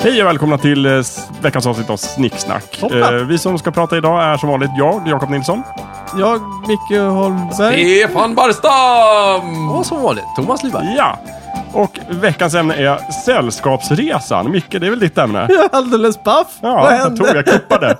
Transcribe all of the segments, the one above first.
Hej och välkomna till eh, s- veckans avsnitt av Snicksnack. Hoppla. Eh, vi som ska prata idag är som vanligt jag, Jakob Nilsson. Jag, Micke Holmberg. Stefan Barstam! Och som vanligt, Thomas Lyberg. Ja! Och veckans ämne är Sällskapsresan. Micke, det är väl ditt ämne? Jag är alldeles paff. Ja, Vad jag tror hände? jag kuppade.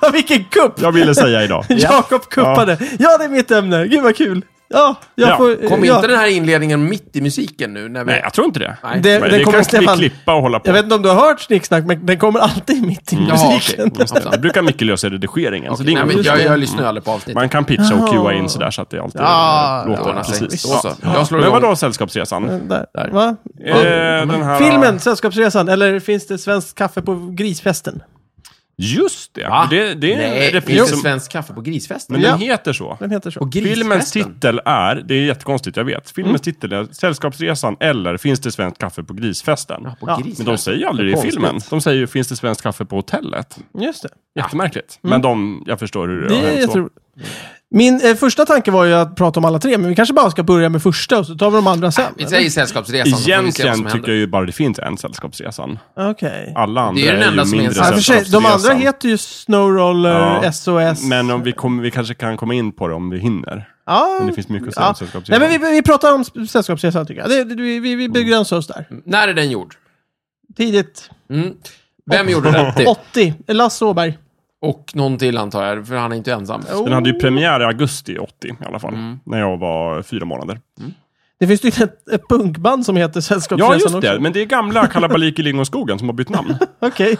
Ja, vilken kupp! Jag ville säga idag. Jakob kuppade. Ja. det är mitt ämne. Gud vad kul. Ja, jag Ja, får... Kom ja. inte den här inledningen mitt i musiken nu? När vi... Nej, jag tror inte det. Nej. Det- Men den det kommer kan Stefan- vi klippa och hålla på. Jag vet inte om du har hört Snicksnack, men den kommer alltid mitt i alltså, Jaha, musiken. Mm. okej. Hoppsan. Det brukar Micke lösa i redigeringen. så det är Okej, Nej, inga men problem. jag, jag lyssnar ju aldrig på avsnittet. Man kan pitcha och cuea in sådär så att det alltid Ja, eh, låter ja, precis. visst. Så, så. Jag slår Men igång. vadå Sällskapsresan? Där. Där. Va? Eh, den här, Filmen Sällskapsresan, eller finns det svenskt kaffe på grisfesten? Just det. Va? Det, det är en Nej, det replik finns som... svensk kaffe på grisfesten. Men Ja. den heter så. Den heter så. På grisfesten? Filmens titel är, det är jättekonstigt, jag vet. Filmens Mm. titel är Sällskapsresan eller Finns det svenskt kaffe på grisfesten? På Ja, grisfesten. Men de säger ju aldrig det i Konstigt. filmen. De säger ju Finns det svenskt kaffe på hotellet? Just det. Jättemärkligt. Mm. Men de, jag förstår hur det, har Det är hänt så. jätteroligt. Min eh, första tanke var ju att prata om alla tre, men vi kanske bara ska börja med första och så tar vi de andra sen. Vi säger Sällskapsresan, så får vi se vad Egentligen som tycker händer. jag ju bara det finns en Sällskapsresan. eller? Okej. Alla andra den är, enda som ju är en mindre Ja, i och för sig, Sällskapsresan. de andra heter ju Snowroller, Ja. SOS. Men om vi, kommer- vi kanske kan komma in på det om vi hinner. ja. Men det finns mycket att säga ja. om Sällskapsresan. Nej, men vi, vi pratar om s- Sällskapsresan tycker jag. Det, det, vi, vi, vi Mm. begränsar oss där. När är den gjord? Tidigt. Mm. Vem gjorde den? 80. Lasse Åberg. Och någon till antar jag, för han är inte ensam. Den hade ju premiär i augusti 80 i alla fall. Mm. När jag var fyra månader. Det finns ju ett, ett punkband som heter Ja, Sällskapsresan just också. det. Men det är gamla Kalabalik i Lingonskogen som har bytt namn. Okej.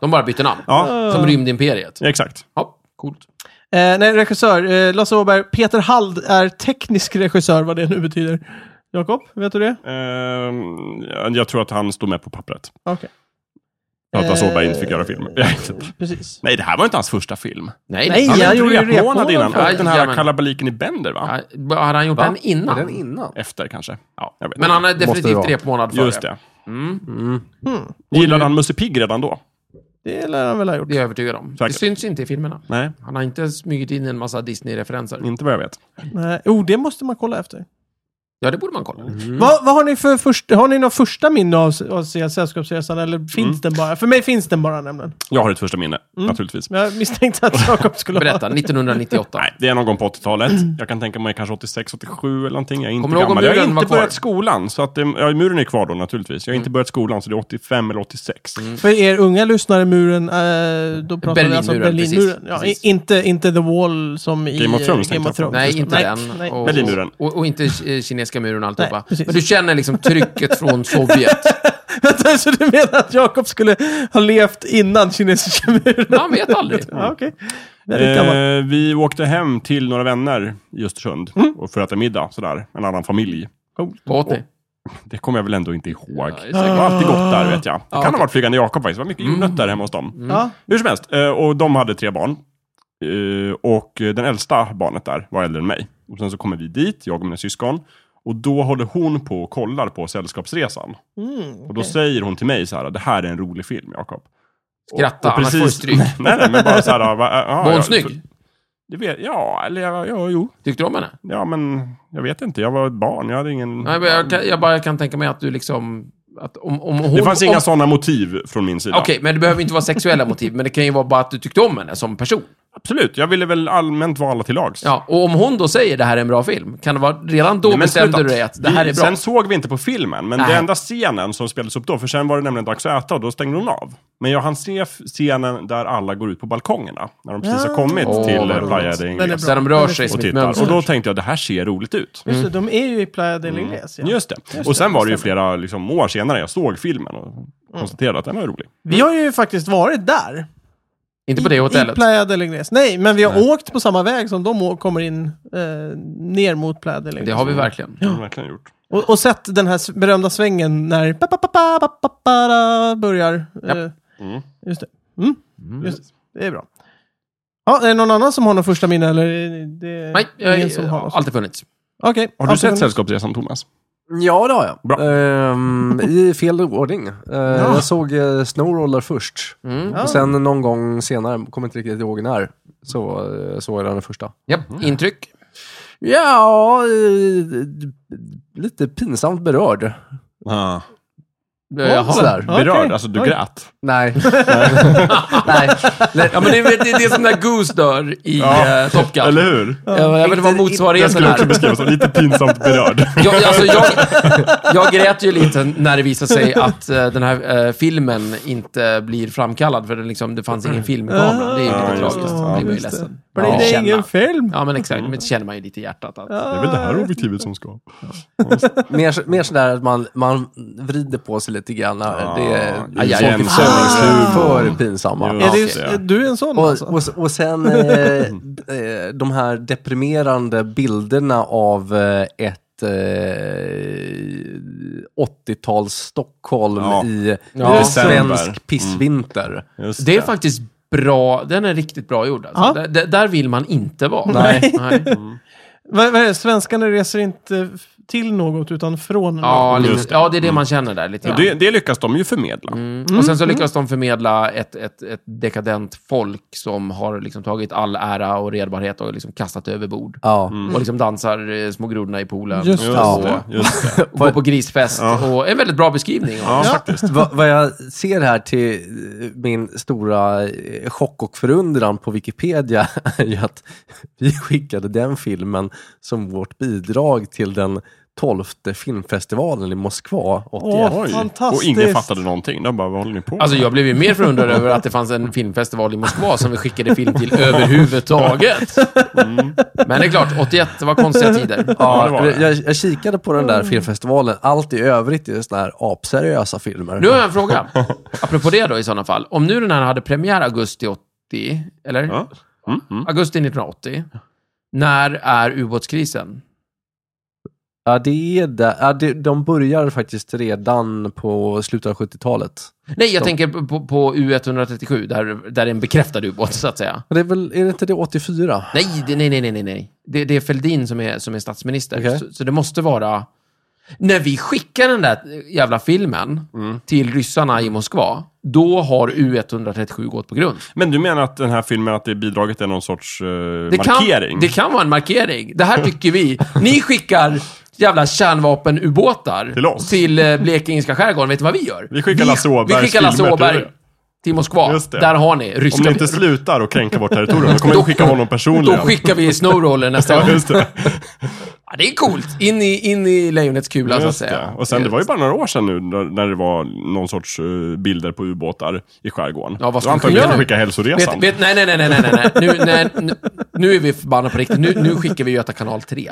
De bara bytte namn. Ja, Som rymdimperiet. ja, exakt. Ja, coolt. eh, nej, regissör. Eh, Lasse Åberg. Peter Hald är teknisk regissör, vad det nu betyder. Jakob, vet du det? Ehm, ja, jag tror att han stod med på pappret. Okej, För att Lasse Eh, Åberg inte fick göra film. Typ. precis. Nej, det här var inte hans första film. Nej, Nej, han, jag Han gjorde gjorde ju repmånad repmånad innan. först. Och den här Jajamän. kalabaliken i Bender, va? Ja, hade han gjort den innan? Den innan? Efter kanske. Ja. Jag vet Men inte. han är definitivt vara. repmånad före. Just det. Mm. Gillade han Musse Pigg redan då? Det lär han väl ha gjort. Det är jag övertygad om. Säkert. Det syns inte i filmerna. Nej, Mm. Han har inte smugit in en massa Disney-referenser. inte vad jag vet. Nej, oh, det måste man kolla efter. Ja, det borde man kolla. Mm. Vad, vad har ni för första, har ni något första minne av, av Se- Sällskapsresan eller finns Mm. den bara? För mig finns den bara nämligen. Jag har ett första minne, naturligtvis. Men jag misstänkte att Jakob skulle ha. Berätta, 1998. Mm. Nej, det är någon gång på 80-talet. Jag kan tänka mig kanske 86, 87 eller någonting. Jag är inte Mm. Kommer du ihåg om gammal. Jag har muren var inte kvar? Mm. börjat skolan. Så att, det- ja, muren är kvar då naturligtvis. Jag har inte börjat skolan så det är 85 eller 86. För er unga lyssnare, muren, eh, då pratar vi alltså om Berlinmuren, precis. Berlinmuren. Ja, i- Precis. inte, inte The Wall som i Game of eh, Thrones, Game tänkte of jag på. Thrones. Nej, inte nej, den. nej. Och, Berlinmuren. Och, och inte eh, kinesiska muren och Nej, alltihopa. precis. Men du känner liksom trycket från Sovjet. Vänta, så du menar att Jakob skulle ha levt innan kinesiska muren? Man vet aldrig. Ja, okej. Väldigt gammal. Eh, vi åkte hem till några vänner i Östersund Mm. och för att äta middag, sådär. En annan familj. Vad åt ni? Det kommer jag väl ändå inte ihåg. det är det säkert. var alltid gott där, vet jag. Det kan okej. Mm. ha varit Flygande Jakob faktiskt. Det var mycket jordnötter hemma hos dem. Ja. Hur som helst, eh, och de hade tre barn. Eh, Och den äldsta barnet där var äldre än mig. Och sen så kommer vi dit, jag och mina syskon. Och då håller hon på och kollar på Sällskapsresan. Och då säger hon till mig så här, det här är en rolig film, Jakob. Och- Skratta, och annars får du stryk. Nej, nej, men bara så här. Va, eh, ja, Var ja, hon snygg? Det vet, ja, eller ja, ja, jo. Tyckte du om henne? Ja, men jag vet inte. Jag var ett barn. Jag hade ingen... Nej, men jag, kan, jag bara kan tänka mig att du liksom... Att om, om hon, det fanns inga om- sådana motiv från min sida. Okej, men det behöver inte vara sexuella motiv, men det kan ju vara bara att du tyckte om henne som person. Absolut, jag ville väl allmänt vara alla till lags. Ja, och om hon då säger det här är en bra film, kan det vara... Redan då Nej, men bestämde sluta. du dig att det här vi, är bra. Sen såg vi inte på filmen, men Nej. den enda scenen som spelades upp då, för sen var det nämligen dags att äta och då stängde hon av. Men jag hann se f- scenen där alla går ut på balkongerna, när de precis har kommit Åh, till vad eh, Playa roligt. de Den är Ingles bra. Där de rör Den är fin. sig som och ett tittar. mönster. Och då tänkte jag, det här ser roligt ut. mm. Just det, de är ju i Playa del Ingles. Ja. Mm. Just det. och sen var det Mm. ju flera liksom, år senare jag såg filmen och konstaterade att den var rolig. Vi har ju faktiskt varit där. Inte på det I hotellet. Playa del Ingles. Nej, men vi har åkt på samma väg som de å- kommer in eh, ner mot Playa del Ingles. Det har vi verkligen. Det har de verkligen gjort. och, och sett den här s- berömda svängen när pa, pa, pa, pa, pa, pa, pa, da, börjar. Japp. Eh, Mm. Just det. Mm. Just det. det är bra. Ja, är det någon annan som har något första minne? Eller är det Nej, jag, ingen som har har något? alltid funnits. Okej. Har du sett Absolut. Sällskapsresan, Thomas? Ja, det har jag. Bra. Ehm, I fel ordning. Eh, Jag såg eh, Snowroller först. Mm. Ja. Och sen någon gång senare, kommer inte riktigt ihåg när, så eh, såg jag den första. Japp, Mm. intryck. Ja, eh, d- d- lite pinsamt berörd. Jaha. Sådär. Berörd, Okej. alltså du Oj. grät. Nej. Nej. Nej. Ja, men det är, väl- det är det som när Goose dör i eh, Top Gun. Eller hur? Ja, jag vet inte vad Jag motsvarigheten skulle också är. beskriva som lite pinsamt berörd. Jag, alltså, jag, jag grät ju lite när det visade sig att eh, den här eh, filmen inte blir framkallad, för det, liksom, det fanns ingen film i kameran. Det är ju Mm. Ja, lite just tragiskt. det. Det blir just det. Men man ju ledsen. Ja. det är Känna. ingen film. Ja, men exakt. Men det känner man ju lite i hjärtat. Att, Det är väl det här objektivet som ska. Mer, mer sådär att man, man vrider på sig lite grann. Ja, det det är är folk är igenkänningshumor. för pinsamma. Jo. Är Ja, det, det är. du är en sån Och, alltså? och, och sen eh, eh, de här deprimerande bilderna av eh, ett eh, 80-tals Stockholm Ja. Mm. i Ja. i December. svensk pissvinter. Just det är faktiskt bra. Den är riktigt bra gjord. Alltså. Ja. Där- Där, där vill man inte vara. Nej. Vad, vad är det? Svenskarna reser inte f- till något utan från Ja, Just lite, det. ja, det är det man känner där lite Och grann. det, det lyckas de ju förmedla. Mm. Och sen så lyckas de förmedla ett, ett, ett dekadent folk som har liksom tagit all ära och redbarhet och liksom kastat över bord. Ja. Mm. Och liksom dansar eh, små grodorna i poolen. Just Just, Ja. det, just det. Och går på grisfest. Och en väldigt bra beskrivning. Ja, av- faktiskt. Va, vad jag ser här till eh, min några eh, chock och förundran på Wikipedia är ju att vi skickade den filmen som vårt bidrag till den 12 filmfestivalen i Moskva. Och Åh, Oj. Och fantastiskt. ingen fattade någonting. De bara, vad håller ni på med? Alltså jag blev ju mer förundrad över att det fanns en filmfestival i Moskva som vi skickade film till överhuvudtaget. Men det är klart, 81, det var konstiga tider. Mm. Ja, det var det. jag, jag kikade på den där filmfestivalen, allt i övrigt är sådana här apseriösa filmer. Nu har jag en fråga. Apropå det då i sådana fall. Om nu den här hade premiär augusti 80, eller? Ja. Mm, mm. Augusti 1980. När är ubåtskrisen? Ja, det är där. Ja, det, de börjar faktiskt redan på slutet av 70-talet. Nej, jag Stopp. tänker på, på U137, där, där det är en bekräftad ubåt, så att säga. Men Det är, väl, är det inte det 84? Nej, det, nej, nej, nej, nej, nej. Det, det är Fälldin som är, som är statsminister. Okej. Så, så det måste vara... När vi skickar den där jävla filmen till ryssarna i Moskva, då har U137 gått på grund. Men du menar att den här filmen, att det bidraget är någon sorts eh, Det markering? Kan, det kan vara en markering. Det här tycker vi. Ni skickar jävla kärnvapenubåtar Till oss. till eh, Blekingska skärgården. Vet du vad vi gör? Vi skickar Lasse Vi Åbergs skickar Lasse filmer till Åberg er. till Moskva. Just det. Där har ni ryska... Om ni inte slutar och kränka vårt territorium, då kommer vi skicka honom Då personligen. skickar vi Snowroller nästa Ja, gång. just det. Ja, det är coolt. In i, in i lejonets kula, så att Just säga. det. Och sen, det var ju bara några år sedan nu, när- när det var någon sorts eh, bilder på ubåtar i skärgården. Ja, vad Då ska vi antar jag skicka att vi nu? skicka hälsoresan. Vet, vet, nej, nej, nej, nej, nej, nej. Nu, nej, nu, nu är vi förbannade på riktigt. Nu, nu skickar vi Göta kanal 3.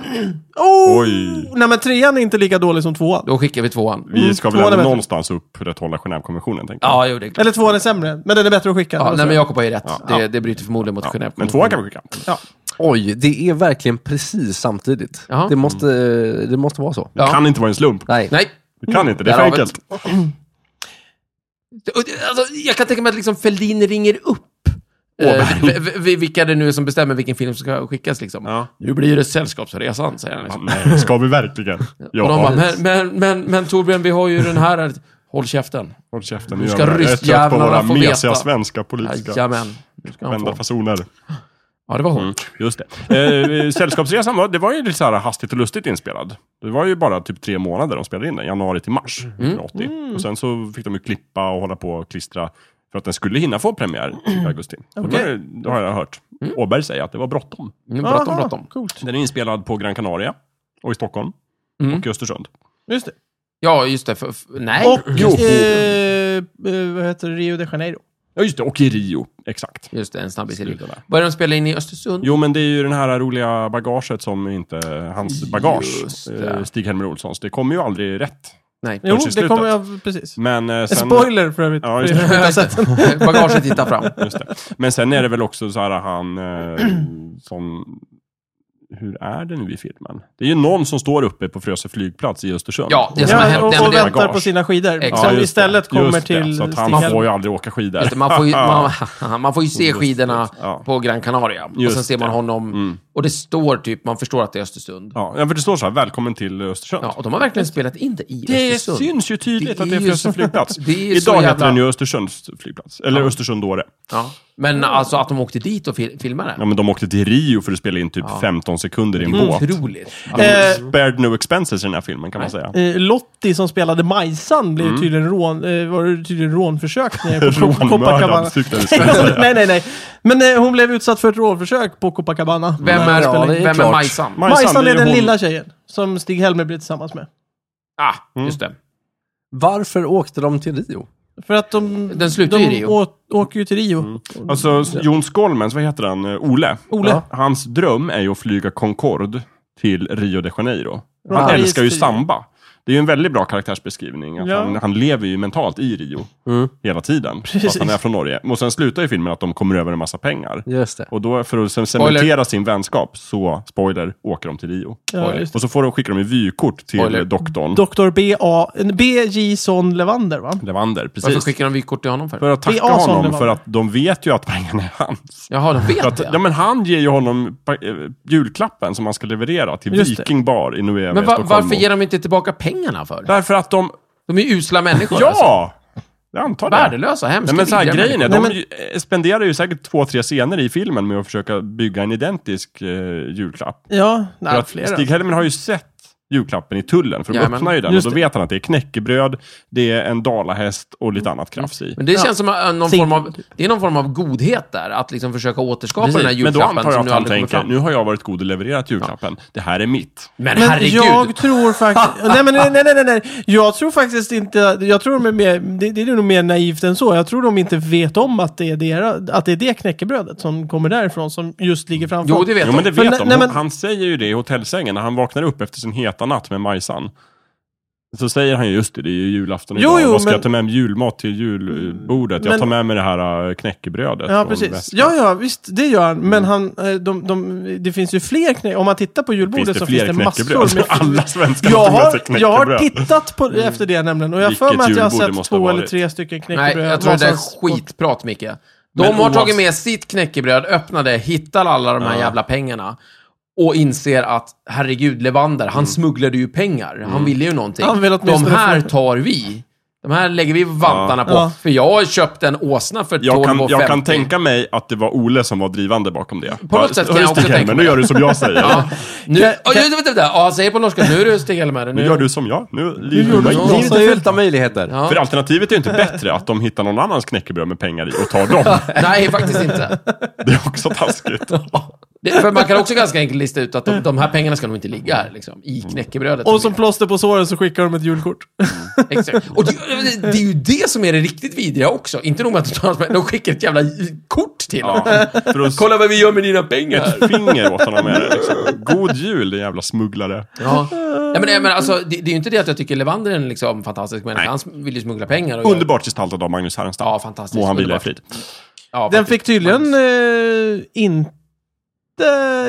Oh! Oj. Nej men trean är inte lika dålig som tvåan. Då skickar vi tvåan. Vi ska Mm, väl två ändå element. någonstans upprätthålla Genèvekonventionen, tänker jag. Ja, jo, det är klart. Eller tvåan är sämre, men den är bättre att skicka. Ja, nej, men Jakob har ju rätt. Ja. Det, det bryter förmodligen mot Genèvekonventionen. Men tvåan kan vi skicka. Oj, det är verkligen precis samtidigt. Jaha. Det måste, det måste vara så. Det Ja. kan inte vara en slump. Nej. Nej. Det kan inte, det är för Där har vi enkelt. Och det- Alltså, jag kan tänka mig att liksom Fälldin ringer upp. Åberg. Eh, v- v- vilka det nu är som bestämmer vilken film som ska skickas liksom. Ja. Nu blir det Sällskapsresan, säger han. Liksom. Nej, ska vi verkligen? Och de Ja, bara, men, men, men, men Torbjörn, vi har ju den här... Håll käften. håll käften. Nu nu ska gör vi det. Jag är trött på ryssjävlarna våra få veta. mesiga svenska politiska Jajamän. Nu ska han vända Mm. få. fasoner. Ja, det var hon. Just det. Eh, Sällskapsresan var, det var ju lite så här hastigt och lustigt inspelad. Det var ju bara typ tre månader de spelade in den, januari till mars Mm. 1980. Och sen så fick de ju klippa och hålla på och klistra för att den skulle hinna få premiär Mm. i augusti. Och Det, var, det har jag hört Åberg säga, att det var bråttom. Mm, Bråttom, Aha, bråttom. Coolt. Den är inspelad på Gran Canaria och i Stockholm Mm. och i Östersund. Just det. Ja, just det. För, f- nej. Och Jo. eh, eh, vad heter det? Rio de Janeiro. Ja, just det. Och i Rio. Exakt. Just det, en snabbis i Skulle Luleå. vara. Vad är det de spelar in i Östersund? Jo, men det är ju den här roliga bagaget som inte... Hans bagage, Just det. eh, Stig-Helmer Olssons. Det kommer ju aldrig rätt. Nej. Jo, Kanske i det slutet. kommer jag... Precis. Men, eh, sen, Spoiler för övrigt. alltså- Ja, Ja, just det. Bagaget tittar fram. just det. men sen är det väl också så här han eh, som... Hur är det nu i filmen? Det är ju någon som står uppe på Frösö flygplats i Östersund. Ja, det som har Ja, hänt- och, nej, men och det är väntar bagage. på sina skidor. Exakt. Ja, Som just istället det. kommer Just det. till Så att Stig han Helmer. får ju aldrig åka skidor. Just det, Alltså, man, får ju, man, man får ju se skidorna Ja. på Gran Canaria. och Just sen ser man det. Mm. honom. Och det står typ, man förstår att det är Östersund. Ja. Ja, för det står så här, välkommen till Östersund. och de har verkligen spelat in det i Det Östersund. syns ju tydligt Det att det är är ju Frösö så- flygplats. Det är ju så Idag heter jävla- den ju Östersunds flygplats. Eller Östersund-Åre. Ja. Men alltså att de åkte dit och fil- filmade. Ja, men de åkte till Rio för att spela in typ Ja. 15 sekunder i en Mm. båt. Otroligt. Alltså, Eh, Spared no expenses i den här filmen kan man Nej. säga. Eh, Lottie som spelade Majsan blev tydligen rån, eh, var det tydligen rånförsök nere på Cop- Copacabana. Mm. Rånmördad tyckte jag vi skulle säga. nej, nej, nej. Men eh, hon blev utsatt för ett rånförsök på Copacabana. vem är, Ja, det är vem är klart. Majsan? Majsan det är ju den hon- lilla tjejen som Stig-Helmer blir tillsammans med. Ah, Mm. just det. Varför åkte de till Rio? För att de, Den slutar de ju i Rio. Mm. Å, åker ju till Rio. Alltså, Jon Skolmens, vad heter han? Eh, Ole. Ole. Ja. Hans dröm är ju att flyga Concorde till Rio de Janeiro. Han Paris älskar ju till Rio. samba. Det är ju en väldigt bra karaktärsbeskrivning. Att Ja. Mm. han, han lever ju mentalt i Rio hela tiden. Fast han är från Norge. Och sen slutar ju filmen att de kommer över en massa pengar. Just det. Och då, för att sen Spoiler. cementera sin vänskap, så, spoiler, åker de till Rio. Ja, just det. Och så får de, skickar de ju vykort till Spoiler. eh, doktorn. Dr. B.A. en B.J. Son Levander, va? Levander, Varför precis. skickar de vykort till honom för? För att Det tacka är Ason honom, Levander. för att de vet ju att pengarna är hans. Jaha, de För vet att, det. ja, men han ger ju honom pa- eh, julklappen som han ska leverera till Just det. Viking Bar i Nueva Men i va, Stockholm. varför ger de inte tillbaka pengarna för? Därför att de... De är ju usla människor. Alltså. Ja! Jag antar det. Värdelösa, hemska, Nej, men så här, vidriga grejen är, människor. de ju- eh, spenderar ju säkert två, tre scener i filmen med att försöka bygga en identisk eh, julklapp. Ja, För nej, att flera. Stig-Helmer har ju sett julklappen i tullen, för de Jajamän. öppnar ju den och Just då det. vet han att det är knäckebröd, det är en dalahäst och Mm. lite annat krafs i. Men det känns som eh, någon Sin- form av, det är någon form av godhet där, att liksom försöka återskapa Precis, den här Men då julklappen antar jag som att nu han aldrig kommer tänker, fram. nu har jag varit god och levererat julklappen, det här är mitt. Men, Men herregud! jag tror faktiskt... nej, men nej, nej, nej, nej. Jag tror faktiskt inte... Jag tror de är mer... Det, det är nog mer naivt än så. Jag tror de inte vet om att det är, dera, att det, är det knäckebrödet som kommer därifrån som just ligger framför. Jo, det vet Jo, men det jag. Men vet nej- de. nej, men- Han säger ju det i hotellsängen när han vaknar upp efter sin heta natt med Majsan. Så säger han ju just det, det är ju julafton Jo, idag. jo, Vad ska men- Mm, jag ta med mig julmat till julbordet? Men- Jag tar med mig det här äh, knäckebrödet. Ja, från precis. väskan. Mm. Ja, ja, visst, det gör han. Men han, eh, de, de, det finns ju fler knä... Om man tittar på Finns julbordet det så finns fler det knäckebröd? Alltså, massor med... Alla svenskar Jag tar med sig har, jag har knäckebröd. Mm. tittat på, efter det nämligen och jag har för Vilket mig att jag har julbord det sett måste två ha eller varit. tre stycken knäckebröd. Nej, jag tror det någonstans på- är skitprat, Micke. De Men har tagit oavs- med sitt knäckebröd, öppnade, hittar alla de här Ja. jävla pengarna och inser att, herregud, Levander, Mm. han smugglade ju pengar. Han ville ju någonting. Han vill de åtminstone här få- tar vi. De här lägger vi vantarna på. Ja. För jag köpte en åsna för 12,50. Jag kan, jag kan tänka mig att det var Ole som var drivande bakom det. På något sätt kan jag också tänka mig. mig Nu det. gör du som jag säger. Ja, nu, kan, vänta, vänta, vänta. Ja, säg på norska. Nu är du Stig Helmer. Nu gör du som jag. Nu, livet du är som omöjligt. jag. Livet är fyllt av möjligheter. Ja. För alternativet är ju inte bättre att de hittar någon annans knäckebröd med pengar i och tar dem. Nej, faktiskt inte. Det är också taskigt. Det, för man kan också ganska enkelt lista ut att de, de här pengarna ska nog inte ligga här, liksom, i knäckebrödet. Och som plåster på såren så skickar de ett julkort. Exakt. Och det, det är ju det som är det riktigt vidriga också. Inte nog med att de, tar- de skickar ett jävla kort till honom. Ja, för att Kolla vad vi gör med dina pengar! ett finger åt honom med det. Liksom. God jul, din jävla smugglare. Ja. Nej, men, nej, men alltså, det, det är ju inte det att jag tycker Levander är en liksom, fantastisk människa. Han vill ju smuggla pengar. Och Underbart gestaltad av Magnus Härenstam. Ja, fantastiskt. Må han vila i Underbart. frid. Ja, Den faktiskt. fick tydligen eh, inte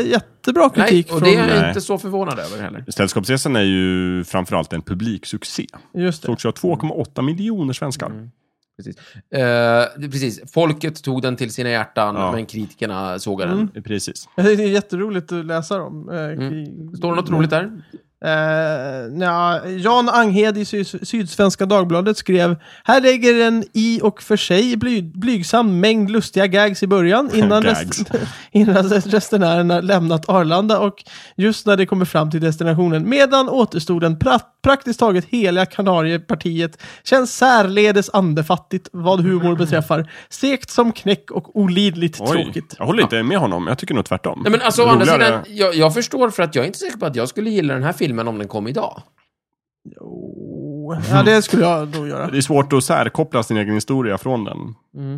jättebra Nej, kritik och det är från... jag Nej. inte så förvånad över heller. Sällskapsresan är ju framförallt en publiksuccé. Just det. Sågs ju av 2,8 miljoner svenskar. Mm. Precis. Eh, precis. Folket tog den till sina hjärtan, Ja. men kritikerna sågade den. Mm. Precis. Jag tycker Det är jätteroligt att läsa om. Eh, Mm. Står det något roligt där? Eh, nja, Jan Anghed i Sy Sydsvenska Dagbladet skrev Här lägger en i och för sig bly blygsam mängd lustiga gags i början innan, Gags. rest innan resenärerna lämnat Arlanda och just när de kommer fram till destinationen. Medan återstoden pra praktiskt taget hela Kanariepartiet känns särledes andefattigt vad humor beträffar. Segt som knäck och olidligt Oj, tråkigt. jag håller inte med honom. Jag tycker nog tvärtom. Nej, men alltså, å andra Roligare- sidan, jag, jag förstår för att jag är inte säker på att jag skulle gilla den här filmen om den kom idag. Jo. Oh. Ja, det skulle jag nog göra. Det är svårt att särkoppla sin egen historia från den.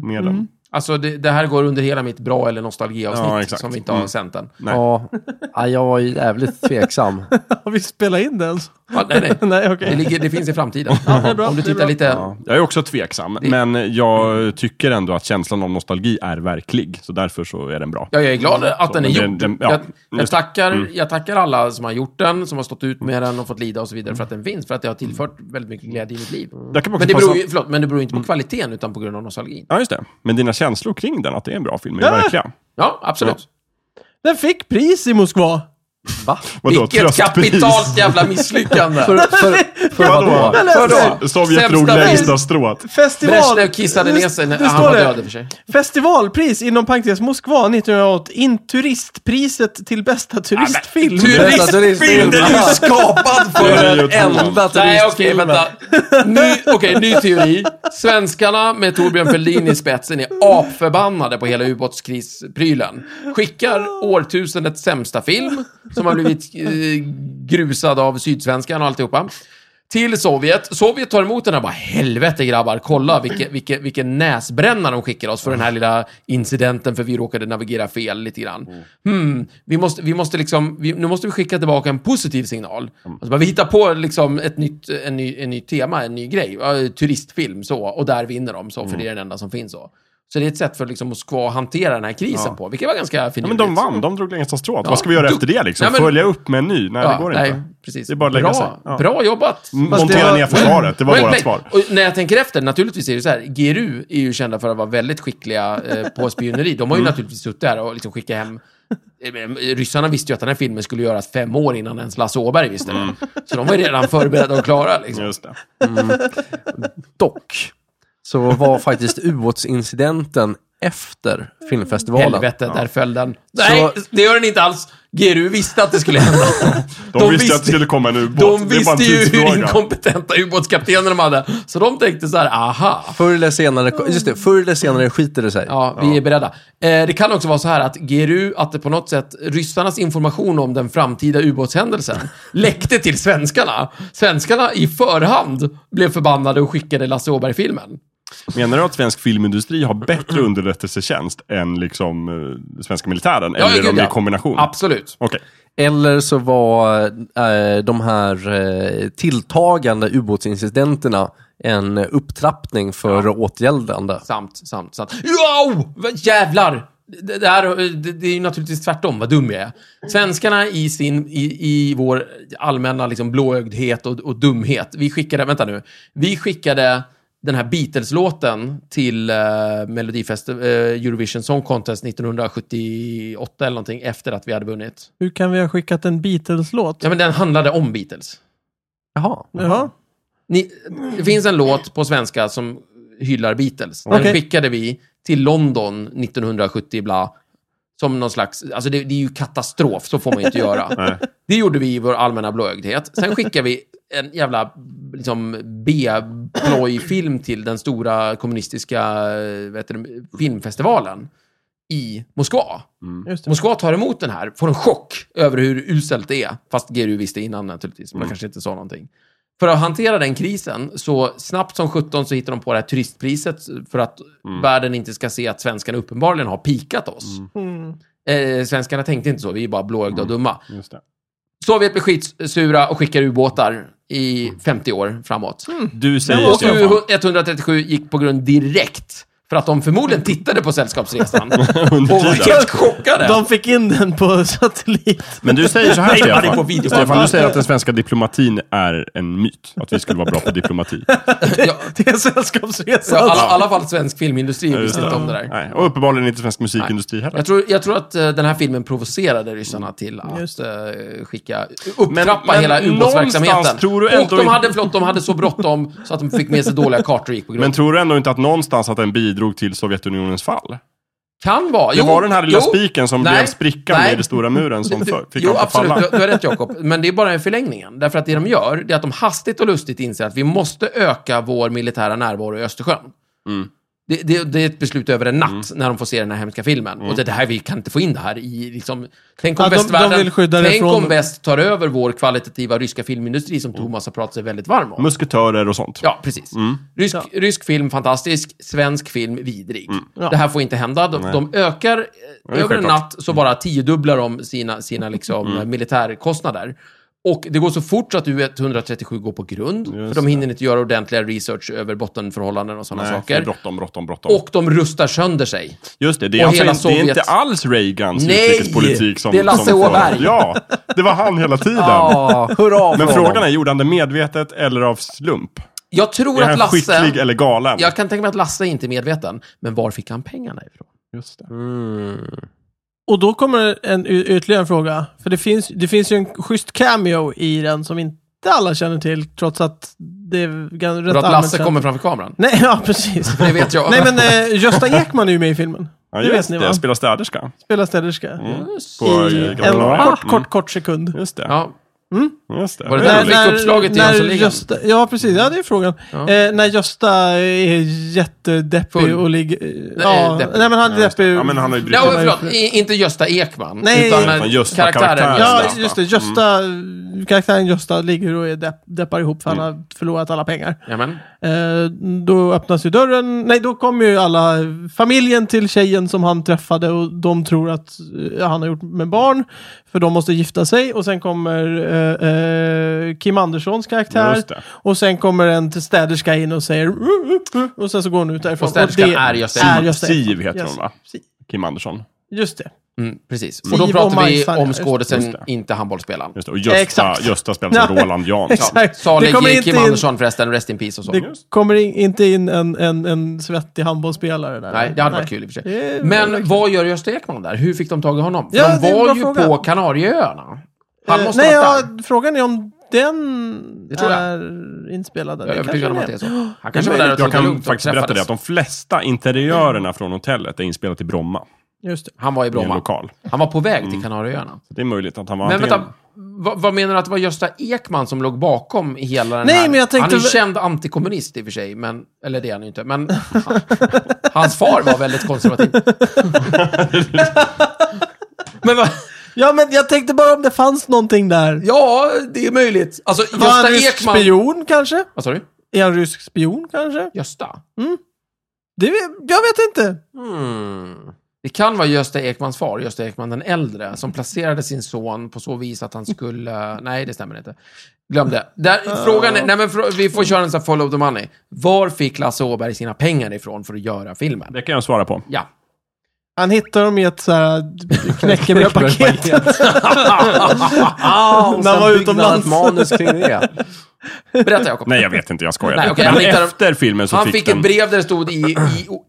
Med den. Alltså, det, det här går under hela mitt bra eller Ja, nostalgiavsnitt exakt. som vi inte har Mm. sänt än. Nej. Ja. ja, jag var ju jävligt tveksam. Har vi spelat in det ens? Ja, nej, nej. Nej, okej. Det, ligger, det finns i framtiden. det är bra, om du det är tittar bra. lite... Ja, jag är också tveksam, men jag tycker ändå att känslan av nostalgi är verklig. Så därför så är den bra. Ja, jag är glad att den är men gjord. den- den- ja. jag, jag, Just- Mm. tackar, jag tackar alla som har gjort den, som har stått ut med den och fått lida och så vidare för att den finns, för att det har tillfört väldigt mycket glädje i mitt liv. Jag kan också Men det, passa- Mm. beror ju, förlåt, men det beror ju inte på kvaliteten, utan på grund av nostalgin. Ja, just det. Men dina känslor Äh! kring den, att det är en bra film, är verkliga. Ja, absolut. Den fick pris i Moskva. Va? Vadå, Vilket tröstpris? kapitalt jävla misslyckande! För, för, för Vadå? vadå? Jag läser. Vadå? Sovjet drog Sämsta längsta strået. Festival... Brezhnev kissade Det- ner sig när det han står var det. död i och för sig. Festivalpris inom parentes Moskva 1980. In turistpriset till bästa turistfilm. Turist- turistfilm. Den är ju skapad Det för är ju otroligt. den enda Nej, okej, turistfilmen. eh, vänta. Ny, okej, ny teori. Svenskarna med Torbjörn Fälldin i spetsen är apförbannade på hela ubåtskrigsprylen. Skickar årtusendets sämsta film, som har blivit eh, grusad av Sydsvenskan och alltihopa. Till Sovjet. Sovjet tar emot den här och bara helvete grabbar, kolla vilken, vilken, vilken näsbränna de skickar oss för den här lilla incidenten för vi råkade navigera fel lite grann. Hmm, vi måste, vi måste liksom, vi, nu måste vi skicka tillbaka en positiv signal. Mm. Alltså bara, vi hittar på liksom ett nytt, en ny, en ny tema, en ny grej. Ja, turistfilm så, och där vinner de så, för det är Mm. den enda som finns så. Så det är ett sätt för liksom Moskva att hantera den här krisen på, vilket var ganska Ja, men finurligt. de vann, de drog längsta strået. Ja. Vad ska vi göra efter det liksom? Ja, men- Följa upp med en ny? Nej, det går nej, inte. Precis. Det är bara att lägga sig. bra, Ja. bra jobbat! Fast det Montera var- ner försvaret, det var Men- vårt men- svar. Och när jag tänker efter, naturligtvis är det så här, GRU är ju kända för att vara väldigt skickliga eh, på spioneri. De Mm. har ju naturligtvis suttit där och liksom skickat hem eh, Ryssarna visste ju att den här filmen skulle göras fem år innan ens Lasse Åberg visste det. Mm. Så de var ju redan förberedda och klara. Liksom. Just det. Dock så var faktiskt ubåtsincidenten efter filmfestivalen. Helvete, där föll den. Nej, det gör den inte alls. GRU visste att det skulle hända. De, visste att det skulle komma en ubåt. De det är bara en visste ju hur tidsfråga. inkompetenta ubåtskaptener de hade. Så de tänkte så här, aha. Förr eller senare, just det, förr eller senare skiter det sig. Ja, vi är beredda. Eh, det kan också vara så här att GRU, att det på något sätt, ryssarnas information om den framtida ubåtshändelsen läckte till svenskarna. Svenskarna i förhand blev förbannade och skickade Lasse Åberg-filmen. Menar du att svensk filmindustri har bättre Mm. underrättelsetjänst än liksom eh, svenska militären? Ja, eller gud, om det är ja. kombination? Absolut. Okej. Eller så var eh, de här eh, tilltagande ubåtsincidenterna en upptrappning för åtgäldande. Sant, sant, sant. Wow! Vad Jävlar! Det, det, här, det, det är ju naturligtvis tvärtom, vad dum jag är. Svenskarna i, sin, i, i vår allmänna liksom blåögdhet och, och dumhet. Vi skickade, vänta nu, vi skickade den här Beatles-låten till uh, Melodifest, eh, Eurovision Song Contest 1978 eller någonting efter att vi hade vunnit. Hur kan vi ha skickat en Beatles-låt? Ja, men den handlade om Beatles. Jaha. Jaha. Ni, det finns en låt på svenska som hyllar Beatles. Den Okej. skickade vi till London 1970, bla. Som någon slags, alltså det, det är ju katastrof, så får man ju inte göra. Nej. Det gjorde vi i vår allmänna blåögdhet. Sen skickade vi en jävla liksom, B-plojfilm till den stora kommunistiska eh, vad heter det, filmfestivalen i Moskva. Just det. Mm. Moskva tar emot den här, får en chock över hur uselt det är. Fast GRU visste innan naturligtvis, men de kanske inte sa någonting. För att hantera den krisen, så snabbt som 17 så hittar de på det här turistpriset eh, för att världen inte ska se att svenskarna uppenbarligen har pikat oss. Mm. Eh, svenskarna tänkte inte så, vi är bara blåögda och dumma. Just det. Sovjet blir skitsura och skickar ubåtar i 50 år framåt. Du säger Och Stefan. U137 gick på grund direkt. För att de förmodligen tittade på Sällskapsresan. Under och var tiden. helt chockade. De fick in den på satellit. Men du säger så här Nej, det är på Stefan. video. Stefan, du säger att den svenska diplomatin är en myt. Att vi skulle vara bra på diplomati. Ja, Det är Så i Sällskapsresan. alla, alla fall svensk filmindustri visste det. inte om det där. Nej. Och uppenbarligen inte svensk musikindustri heller. Jag tror, jag tror att eh, den här filmen provocerade ryssarna till Just att eh, skicka, upptrappa men hela ubåtsverksamheten. någonstans tror du ändå och de inte- hade, förlåt, de hade så bråttom så att de fick med sig dåliga kartor och gick på grund. Men tror du ändå inte att någonstans att den bidrog till Sovjetunionens fall? kan vara. Det var den här lilla jo, spiken som nej, blev sprickan nej. i den stora muren som Du- för, fick jo, allt att absolut. falla. Du, du har rätt Jakob. Men det är bara en förlängningen. Därför att det de gör, det är att de hastigt och lustigt inser att vi måste öka vår militära närvaro i Östersjön. Mm. Det, det, det är ett beslut över en natt när de får se den här hemska filmen. Och det, det här, vi kan inte få in det här i liksom... Tänk om Mm. Ja, de- de västvärlden... vill skydda det tänk från- Mm. om väst tar över vår kvalitativa ryska filmindustri som Thomas har pratat sig väldigt varm om. Musketörer och sånt. Ja, precis. Mm. Rysk, rysk film fantastisk, svensk film vidrig. Mm. Ja. Det här får inte hända. De, de ökar, eh, är över en självklart. Mm. natt så bara tiodubblar de sina, sina liksom, eh, militärkostnader. Och det går så fort så att U137 går på grund. för de hinner inte göra ordentliga research över bottenförhållanden och sådana Nej, för saker. Bråttom, bråttom, bråttom. Och de rustar sönder sig. Just det, det är, Och alltså hela inte, det är Sovjet. inte alls Reagans Nej, utrikespolitik som... det är Lasse som Åberg. Ja, det var han hela tiden. Ja, hurra för Men honom. frågan är, gjorde han det medvetet eller av slump? Jag tror Är att han Lasse... skicklig eller galen? Jag kan tänka mig att Lasse inte är medveten. Men var fick han pengarna ifrån? Just det. Mm. Och då kommer en, y- ytterligare en fråga. För det finns, det finns ju en schysst cameo i den som inte alla känner till, trots att det är gan- rätt För att allmänt Lasse känt. kommer framför kameran. Nej, ja precis. Det vet jag. Nej men eh, Gösta Ekman är ju med i filmen. Ja, det vet just ni det. va? Spelar städerska. Spelar städerska. Yes. På I eh, Gran en Canaria. kort, Mm, kort, kort sekund. Just det. Ja, Just det. Var det Ja, där roligt. du fick uppslaget till Jönssonligan. Gösta, ja, precis. Ja, det är frågan. Ja. Eh, när Gösta är jättedeppig Full. och ligger... eh, eh, ja, deppig. nej, men han är just det. deppig. Ja, men han har ju Ja, brutit... var- förlåt. I, inte Gösta Ekman. Nej. utan Utan Gösta, karaktären. karaktären. Ja, Gösta. just det. Gösta, Karaktären Gösta ligger och är depp, deppar ihop för Mm. han har förlorat alla pengar. Jajamän. Eh, då öppnas ju dörren. Nej, då kommer ju alla familjen till tjejen som han träffade och de tror att eh, han har gjort med barn. För de måste gifta sig och sen kommer eh, eh, Kim Anderssons karaktär. Just det. Och sen kommer en till städerska in och säger "Uh, uh, uh", och sen så går hon ut därifrån. Och städerskan det är Gösta är Ekman. Gösta Siv Ekman. heter Yes. hon va? Si- Kim Andersson. Just det. Mm, precis. Siv Och då och pratar vi Majsfärja, om just det. Just skådisen, det. inte handbollsspelaren. Just det. Och Gösta, Exakt. Gösta spelar som Ja, Roland Jansson. Ja, Exakt. Det kommer Salig inte Kim in- Andersson förresten, Rest in Peace och så. Det kommer in, inte in en, en, en svettig handbollsspelare där. Nej, det hade varit kul i och för Det sig. är- Men vad gör Gösta Ekman där? Hur fick de tag i honom? För Ja, det de är en var bra ju fråga. på Kanarieöarna. Han Eh, måste Nej, ha ja, varit där. frågan är om den Det tror jag. är inspelad. där. Jag är Det övertygad om kanske att det den är så. Han Det är kanske var där och möjligt. tog Jag det kan lugnt och faktiskt berätta det träffades. att de flesta interiörerna från hotellet är inspelade i Bromma. Just det. Han var I i en Bromma. lokal. Han var på väg Mm. till Kanarieöarna. Så det är möjligt att han var Men antingen... vänta, vad, vad menar du att det var Gösta Ekman som låg bakom hela den Nej, här? men jag tänkte- Han är ju känd antikommunist i och för sig, men, eller det är han ju inte, men han, hans far var väldigt konservativ. men vad, Ja, men jag tänkte bara om det fanns någonting där. ja, det är möjligt. Alltså, Var han Gösta rysk Ekman... spion kanske? Vad sa du? Är han rysk spion kanske? Gösta? Det, jag vet inte. Hmm. Det kan vara Gösta Ekmans far, Gösta Ekman den äldre, som placerade sin son på så vis att han skulle... Nej, det stämmer inte. Glöm det. Där, frågan är... Nej, men fr- vi får köra en sån här follow the money. Var fick Lasse Åberg sina pengar ifrån för att göra filmen? Det kan jag svara på. Ja. Han hittar dem i ett så här knäckebrödspaket. ah, och När han sen var byggde utomlands. ett manus kring det. Berätta, Jakob. Nej, jag vet inte. Jag skojar. Nej, okej, Men han hittar- efter filmen så Han fick, fick den... ett brev där det stod i, i,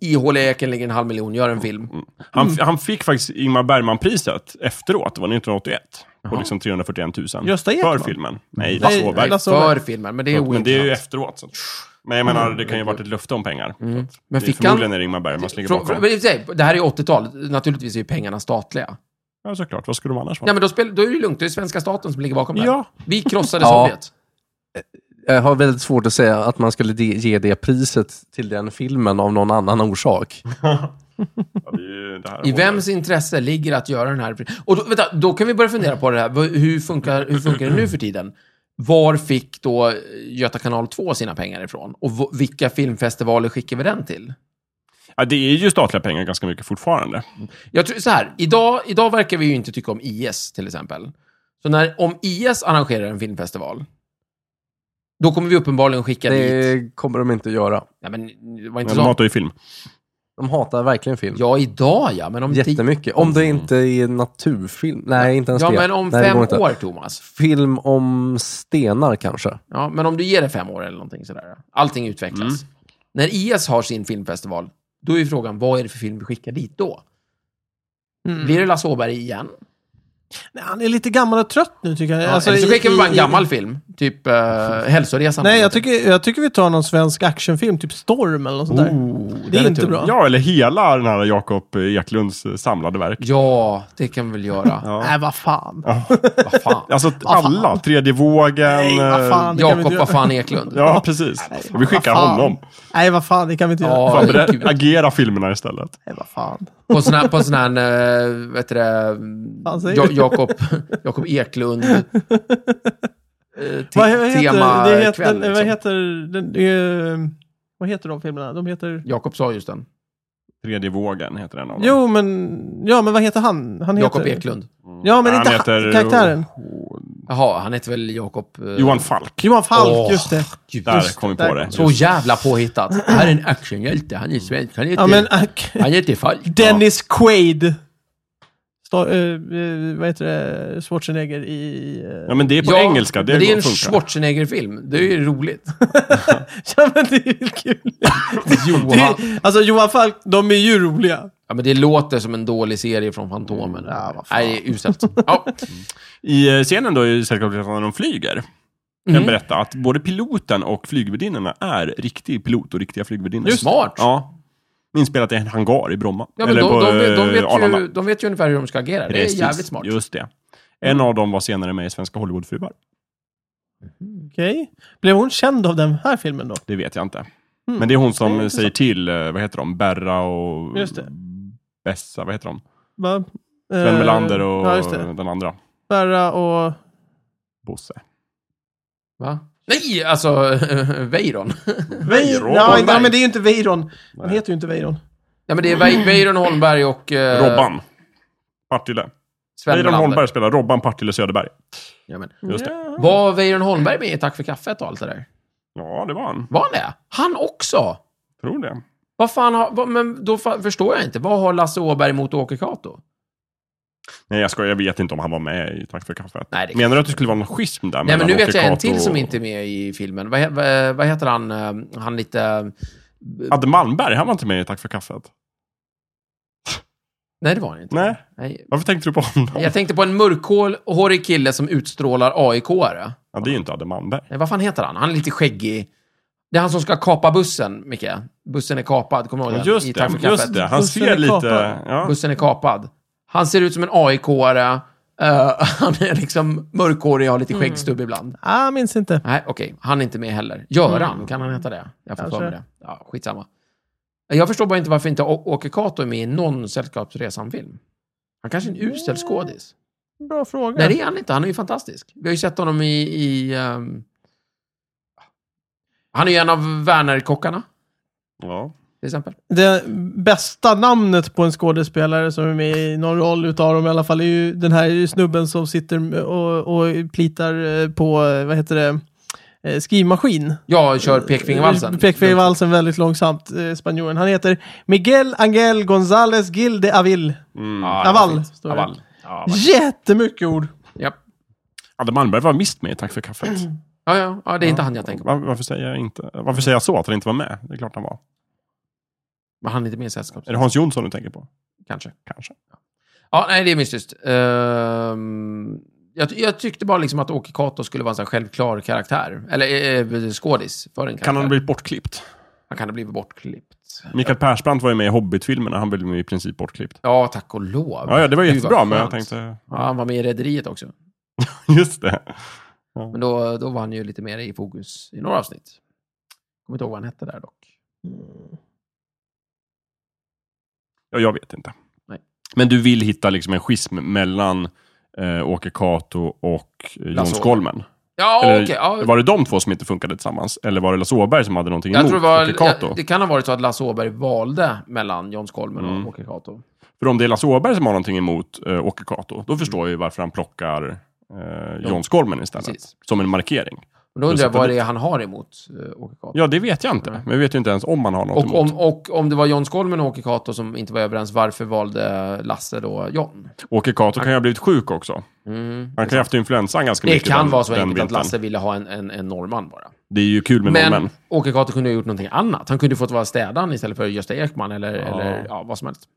i ihåliga eken ligger en halv miljon, gör Mm. en film. Han, Mm. f- han fick faktiskt Ingmar Bergman-priset efteråt. Det var 1981. På liksom 341 000. Gösta För Ekman? filmen. Nej, Nej, Lasse Åberg. Lasse- För filmen, men Mm. det är Men det är ju ointressant. Mm. efteråt. Så. att- Men jag menar, det kan ju ha varit ett löfte om pengar. Så att Men det är fick han- förmodligen är det Ingmar Bergman som ligger Frå- frå- bakom. men i och för sig, Det här är ju 80-talet, naturligtvis är ju pengarna statliga. Ja, såklart. Vad skulle de annars vara? Nej, men då, spel, då är det ju lugnt, det är svenska staten som ligger bakom det här. Ja. Vi krossade Ja. Sovjet. Jag har väldigt svårt att säga att man skulle de- ge det priset till den filmen av någon annan orsak. Ja, det är ju det här I vems intresse ligger att göra den här... Och då, vänta, då kan vi börja fundera på det här. Vad- Hur funkar, hur funkar det nu för tiden? Var fick då Göta kanal 2 sina pengar ifrån? Och v- vilka filmfestivaler skickar vi den till? Ja, det är ju statliga pengar ganska mycket fortfarande. Jag tror så här, idag, idag verkar vi ju inte tycka om IS till exempel. Så när, om IS arrangerar en filmfestival, då kommer vi uppenbarligen skicka dit... Det kommer de inte att göra. Nej, men det var Men inte de så. hatar ju film. De hatar verkligen film. Ja, idag ja, men om tio... Jättemycket. Om det inte är naturfilm. Nej, inte ens Ja, det. men om Nej, det fem går inte. år, Thomas. Film om stenar kanske. Ja, men om du ger det fem år eller någonting sådär. Allting utvecklas. Mm. När IS har sin filmfestival, då är ju frågan, vad är det för film vi skickar dit då? Mm. Blir det Lasse Åberg igen? Nej, han är lite gammal och trött nu tycker jag. Ja, Alltså, eller så i- skickar vi bara en i- gammal film, typ uh, Hälsoresan. Nej, jag tycker, jag tycker vi tar någon svensk actionfilm, typ Storm eller något sånt där. Oh, det den är är inte tung. bra. Ja, eller hela den här Jakob Eklunds eh, samlade verk. Ja, det kan vi väl göra. Nej, vad fan. Vad fan. Alltså alla. Tredje vågen. Nej, vad eh, fan. det kan vi Jakob, inte vad fan Eklund? Ja, precis. Och vi skickar Vad fan. honom. Nej, vad fan, det kan vi inte göra. Ja, Fan, berä- gud. agera filmerna istället. Nej, vad fan. På sån här, på sån här eh, vad heter det, Fan, säger Ja- du? Jakob, Jakob Eklund. eh, te- Vad, vad heter, det heter, den, temakväll, vad liksom. heter den, eh, vad heter de filmerna? De heter... Jakob sa just den. Tredje vågen heter den av dem. Jo, men... Ja, men vad heter han? Han heter... Jakob Eklund. Ja, men Han inte heter- han, karaktären. Jaha, han heter väl Jakob... eh, Johan Falk. Johan Falk, Åh, just det. Gud, Där just- kom vi där på det. kom- Så jävla påhittat. Det här är en actionhjälte. Han är svensk. Han heter, Ja, men... ak- han heter Falk. Dennis Quaid. Sta, eh, eh, vad heter det? Schwarzenegger i... eh, Ja, men det är på engelska. Det, men det är går en att funka. Schwarzenegger-film. Det är ju roligt. Ja, men det är ju kul. Det Johan. är, alltså Johan Falk, de är ju roliga. Ja, men det låter som en dålig serie från Fantomen. Ja, vad fan. Nej, det är uselt. Ja. I eh, scenen då i Sällskapsresan när de flyger, kan Mhm. jag berätta att både piloten och flygvärdinnorna är riktig pilot och riktiga flygvärdinnor. Just det. Smart. Ja. Inspelat i en hangar i Bromma. Ja, men de, på, de, vet- de, eh, vet Arlanda. ju, de vet ju ungefär hur de ska agera. Det är Precis, jävligt smart. Just det. En av dem var senare med i Svenska Hollywoodfruar. Okej. Blev hon känd av den här filmen då? Det vet jag inte. Men det är hon Mm. Det är som intressant. säger till, eh, vad heter de, Berra och Just det. Bessa, vad heter de? Va? Sven Eh, Melander och Ja, just det. den andra. Berra och... Bosse. Va? Nej, alltså Veiron. Veiron. Nej, Holmberg. nej, men det är ju inte Veiron. Han Nej. heter ju inte Veiron. Ja, men det är Ve- Veiron Holmberg och eh, Robban. Partille. Sven Weiron Melander. Holmberg spelar Robban, Partille, Söderberg. Ja, men. Just det. Var Veiron Holmberg med i Tack för kaffet och allt det där? Ja, det var han. Var han det? Han också? Tror det. Vad fan har... Vad, men då fa- förstår jag inte. Vad har Lasse Åberg mot Åke Cato? Nej, jag skojar. Jag vet inte om han var med i Tack för kaffet. Nej, det är Menar du att det skulle vara någon schism där? Nej, mellan men nu vet Åke jag en Cato till som och- inte är med i filmen. Vad, he- vad, vad heter han? eh, Han lite... Adde Malmberg, han var inte med i Tack för kaffet. Nej, det var han inte. Nej, Nej. varför tänkte du på honom? Jag tänkte på en mörkhårig kille som utstrålar AIK-are. Ja, det är ju inte Adde Malmberg. eh. Nej, vad fan heter han? Han är lite skäggig. Det är han som ska kapa bussen, Micke. Bussen är kapad, kommer du ihåg Ja, den? I just Tack det, för kaffet. just det. Han Bussen ser är kapad. lite... Ja. Bussen är kapad. Han ser ut som en AIK-are. Eh, han är liksom mörkhårig och har lite skäggstubb ibland. Ah, minns inte. Nej, okej. Han är inte med heller. Göran, kan han heta det? Jag får för mig Kanske. det. Ja, skitsamma. Jag förstår bara inte varför inte Å- Åke Cato är med i någon Sällskapsresan-film. Han kanske är en usel skådis. Bra fråga. Nej, det är han inte. Han är ju fantastisk. Vi har ju sett honom i... i ehm, Han är ju en av Wernerkockarna, Ja. till exempel. Det bästa namnet på en skådespelare som är med i någon roll utav dem i alla fall är ju den här snubben som sitter och, och plitar eh, på, eh, vad heter det, eh, skrivmaskin. Jag kör pekfingervalsen. Pekfingervalsen väldigt långsamt, eh, spanjoren. Han heter Miguel Angel González Gil de Avil. Mm. Ja, det var Aval, fint. står det. Aval. Ja, Jättemycket ord. ja. Adde Malmberg var visst med i Tack för kaffet. Ja, ja, ja, det är inte han jag tänker på. Var, varför, säger jag inte, varför säger jag så, att han inte var med? Det är klart han var. Men han är inte med i sällskapet, Är det Hans Jonsson du tänker på? kanske. Kanske. Ja, nej, det är mystiskt. Ehm, jag, jag tyckte bara liksom att Åke Cato skulle vara en sån här självklar karaktär. Eller eh, skådis för en karaktär. Kan han ha blivit bortklippt? han kan ha blivit bortklippt. Mikael Persbrandt var ju med i Hobbit-filmerna. Han blev ju i princip bortklippt. Ja, tack och lov. Ja, ja, det var Gud, vad jättebra, men jag skönt. tänkte... Ja, han var med i Rederiet också. Just det. Men då, då var han ju lite mer i fokus i några avsnitt. Kommer inte ihåg vad han hette där dock. Ja, jag vet inte. Nej. Men du vill hitta liksom en schism mellan eh, Åke Cato och eh, Jon Lasse Skolmen? Ja, Eller, okej. ja. Var det de två som inte funkade tillsammans? Eller var det Lasse Åberg som hade någonting Jag emot tror det, var, Åke Cato? ja, det kan ha varit så att Lasse Åberg valde mellan John Skolmen Mm. och Åke Cato. För om det är Lasse Åberg som har någonting emot eh, Åke Cato, Mm. då förstår jag ju varför han plockar eh, John Skolmen istället. Precis. Som en markering. Men då undrar jag sätta vad dit- det är han har emot eh, Åke Cato. Ja, det vet jag inte. Men vi vet ju inte ens om han har något Mm. och, emot. om, och om det var John Skolmen och Åke Cato som inte var överens, varför valde Lasse då John? Åke Cato kan ju ha blivit sjuk också. Mm. Han kan ju ha haft influensan ganska Det mycket kan den, vara så den enkelt att vintern. Lasse ville ha en, en, en norrman bara. Det är ju kul med Men, norrmän. Åke Cato kunde ha gjort någonting annat. Han kunde ju fått vara städaren istället för Gösta Ekman eller, eller ja, vad som helst.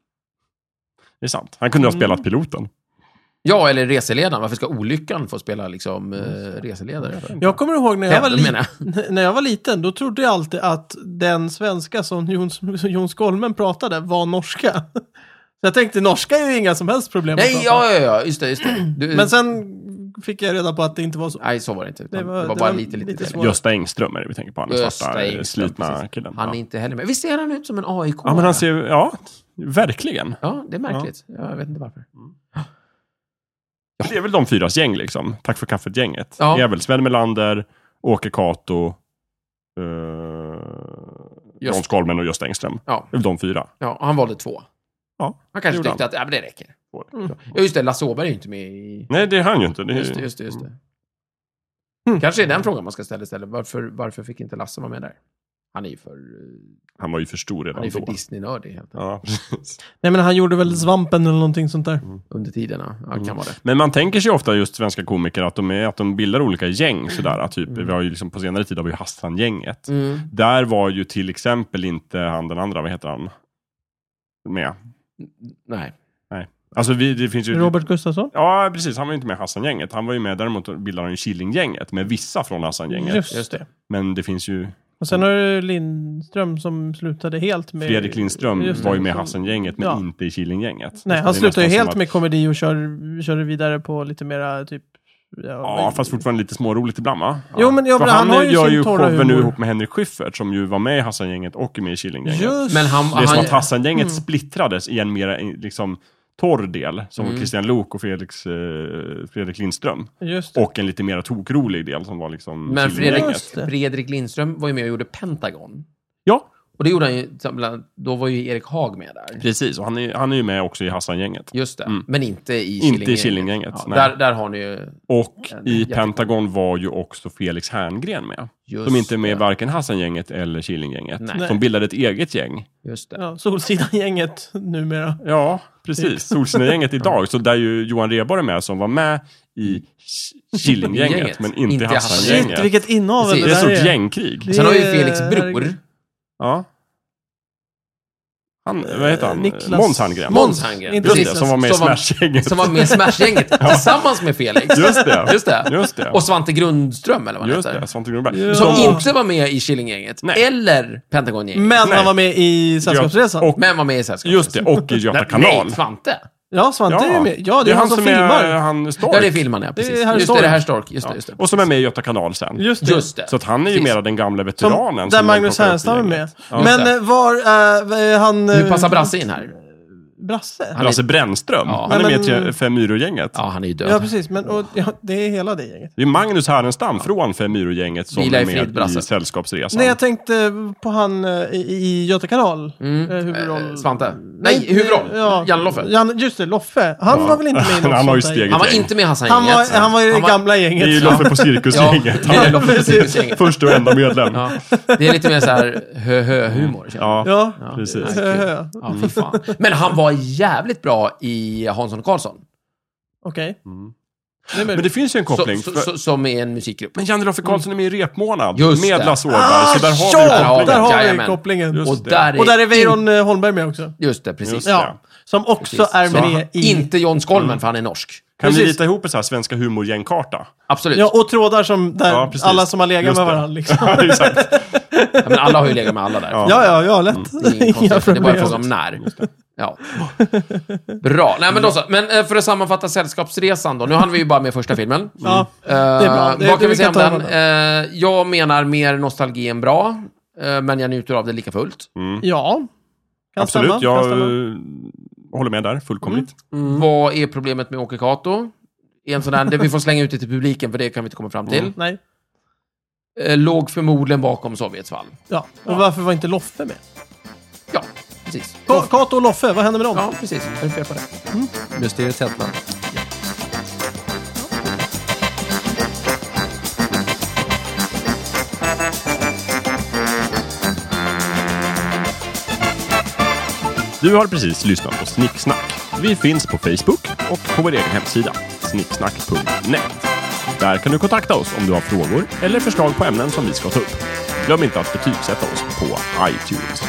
Det är sant. Han kunde ha Mm. spelat piloten. Ja, eller reseledaren. Varför ska olyckan få spela liksom, eh, Mm. reseledare? För? Jag kommer ihåg när jag, Tänd, var menar li- jag. när jag var liten, då trodde jag alltid att den svenska som Jon, som Jon Skolmen pratade var norska. Så jag tänkte, norska är ju inga som helst problem att Nej, prata. ja, ja, ja, just det. Just det. Du, Men sen fick jag reda på att det inte var så. Nej, så var det inte. Utan Det det var- var, det bara var lite, lite, lite lite svårt. Gösta Engström är det vi tänker på. Han den svarta, eh, slitna killen. Han är ja. inte heller med. Visst är han ut som en AIK? ja, men han ser... Ja, verkligen. Ja, det är märkligt. Jag vet inte varför. Det är väl de fyras gäng liksom. Tack för kaffet-gänget. Ja. Det är väl Sven Melander, Åke Cato, eh, Jon Skolmen och Gösta Engström. Ja. Det är väl de fyra. Ja, han valde två. Ja, Han det kanske gjorde tyckte att ja, men det räcker. Mm. Ja, just det. Lasse Åberg är ju inte med i... Nej, det är han ju inte. Det Mm. är, Just det, just det. Just det. Mm. Kanske är den frågan man ska ställa istället. Varför, varför fick inte Lasse vara med där? Han är ju för, eh, Han var ju för stor han är redan ju för då. Disney-nördig helt enkelt. Ja, precis. Nej men han gjorde väl svampen eller någonting sånt där. Under tiderna. Ja, kan vara det. Men man tänker sig ofta just svenska komiker att de, är, att de bildar olika gäng. Sådär, Mm. typ, vi har ju liksom, på senare tid har vi ju Hassan-gänget. Där var ju till exempel inte han den andra, vad heter han? Med. Nej. Alltså vi, det finns ju... Robert Gustafsson? Ja, precis. Han var ju inte med i Hassan-gänget. Han var ju med, däremot bildade han ju Killing-gänget med vissa från Hassan-gänget. Just, just det. Men det finns ju... Och sen har du Lindström som slutade helt med... Fredrik Lindström Just det, var ju med i som- Hassan-gänget, men Ja. inte i Killing-gänget. Nej, Så han det är slutar ju nästan som helt att- med komedi och kör, kör vidare på lite mera typ... Ja, Ja, fast fortfarande lite småroligt ibland va? Jo, men ja, För men han har ju gör sin ju torra showen nu humor. ihop med Henrik Schyffert som ju var med i Hassan-gänget och är med i Killing-gänget. Just Mm. Men han, Det är som han, att Hassan-gänget splittrades i en mer liksom, torr del, som Mm. Christian Lok och Felix, eh, Fredrik Lindström. Just det. Och en lite mer tokrolig del som var liksom men Fredrik, Killinggänget. Just det. Fredrik Lindström var ju med och gjorde Pentagon. Ja, Och det gjorde han ju, bland annat- då var ju Erik Haag med där. precis. Och han är, han är ju med också i Hassan-gänget. Just det, men inte i Mm. Inte i Killinggänget. Killinggänget, Ja, nej. där, där har ni ju... Och Ja, i jättekul. Pentagon var ju också Felix Herngren med. Just som inte är med i det. varken Hassan-gänget eller Killinggänget. Nej. Som bildade ett eget gäng. Just det. Ja, Solsidan-gänget numera. Ja, precis. Solsnögänget idag. Så där ju Johan Rheborg är med som var med i Ki- Killinggänget, Gänget. men inte i Mm. Inte Hassan-gänget. Shit, vilket inavel Precis. Det är ett där stort gängkrig. Det Sen har ju är- Felix bror, herregud. Ja. Han, vad heter han? Eh, Niklas- Måns Herngren. Måns- Måns Herngren, Inte Just precis. det, som var med i Som var- Smash-gänget. Som var med i Smash-gänget tillsammans med Felix. Just det. Just det. Just det. Och Svante Grundström, eller vad han Just heter. det, Svante Grundberg. Ja. Som Som Ja. inte var med i Killinggänget, Nej. eller Pentagongänget. Men Nej. han var med i Sällskapsresan. Och- Men var med i Sällskapet. Just det, och i Göta Nej, kanal. Nej, Svante. Ja, Svante är ju med. Ja, det är han, som filmar. är han Stark. Ja, det är filmen, ja. Precis. Det är Herr just det, Stork. det är Herr Stork. Just det, just det. Ja. Och som är med i Göta kanal sen. Just det. Just det. Så att han är ju Precis. mera den gamla Som, veteranen. där som de Magnus plockar upp i Härenstam är med. gänget. Men det. eh, var eh, är han... eh, Hur passar Brasse in här? Brasse? Han Lasse Brännström. Ja. Han är Nej, med i men- Tre- Fem myror-gänget. Ja, han är ju död. Ja, precis. Men och, ja, det är hela det gänget. Det är Magnus Härenstam från Fem myror-gänget som Vila i är frid, med Brasse. i Sällskapsresan. Nej, jag tänkte på han eh, i, i Göta kanal. Mm. Eh, huvudroll. Eh, Svante. Nej, huvudroll. ja. Janne Loffe. Jan, just det, Loffe. Han Ja. var väl inte med i något Han har ju sånt där gäng? steget. han var gäng. inte med i han Hassan-gänget. var, han var i det Han var- gamla Det är gänget. ju Loffe på Cirkusgänget. Ja, det är Han Loffe på är Cirkusgänget. första och enda medlem. Ja, Ja, det är lite mer så här hö-hö-humor. känner jag. Mm. ja. Ja. Ja, precis. det är kul. Ja, fy fan. Men han var jävligt bra i Hansson och Karlsson. Okej. Mm. Nej, Men det finns ju en koppling. Så, för- så, så, som är en musikgrupp. Men Janne Roffe Karlsson är med i Repmånad Just med det. Lasse Åberg. Ah, så där har vi ju ja, kopplingen. där har vi Jajamän. kopplingen. Just Och det. där är, Och där är Weiron eh, Holmberg med också. Just det, precis. Just det. Mm. Ja, som också Precis. är Så med i... Inte John Skolmen, för han är norsk. Kan vi Precis. rita ihop en så här svenska humorgängkarta? Absolut. Ja, och trådar som där Ja, precis. alla som har legat Just med det. varandra. Liksom. Ja, Exakt. Ja, men alla har ju legat med alla där. Ja. Ja, ja, ja, lätt. Mm, Det är, ingen Inga konstigt, det är bara en problem. fråga om när. Ja. Bra. Nej, men, då så. men eh, för att sammanfatta Sällskapsresan då. Nu hann vi ju bara med första filmen. Mm. Ja. Eh, bra. Det- vad kan det vi vi säga om kan ta den? Eh, jag menar mer nostalgi än bra, eh, men jag njuter av det lika fullt. ja. Kan Mm. Absolut, stämma, jag kan stämma. eh, håller med där fullkomligt. Mm. Vad är problemet med Åke Kato? Är En sån där, det vi får slänga ut det till publiken, för det kan vi inte komma fram till. Nej. Eh, låg förmodligen bakom Sovjets fall. Ja. Och varför var inte Loffe med? Ja, precis. Ka- Kato och Loffe, vad hände med dem? Ja, precis. Vad är det fel på det? Mysteriet Tätland. Du har precis lyssnat på Snicksnack. Vi finns på Facebook och på vår egen hemsida, snicksnack.net. Där kan du kontakta oss om du har frågor eller förslag på ämnen som vi ska ta upp. Glöm inte att betygsätta oss på iTunes.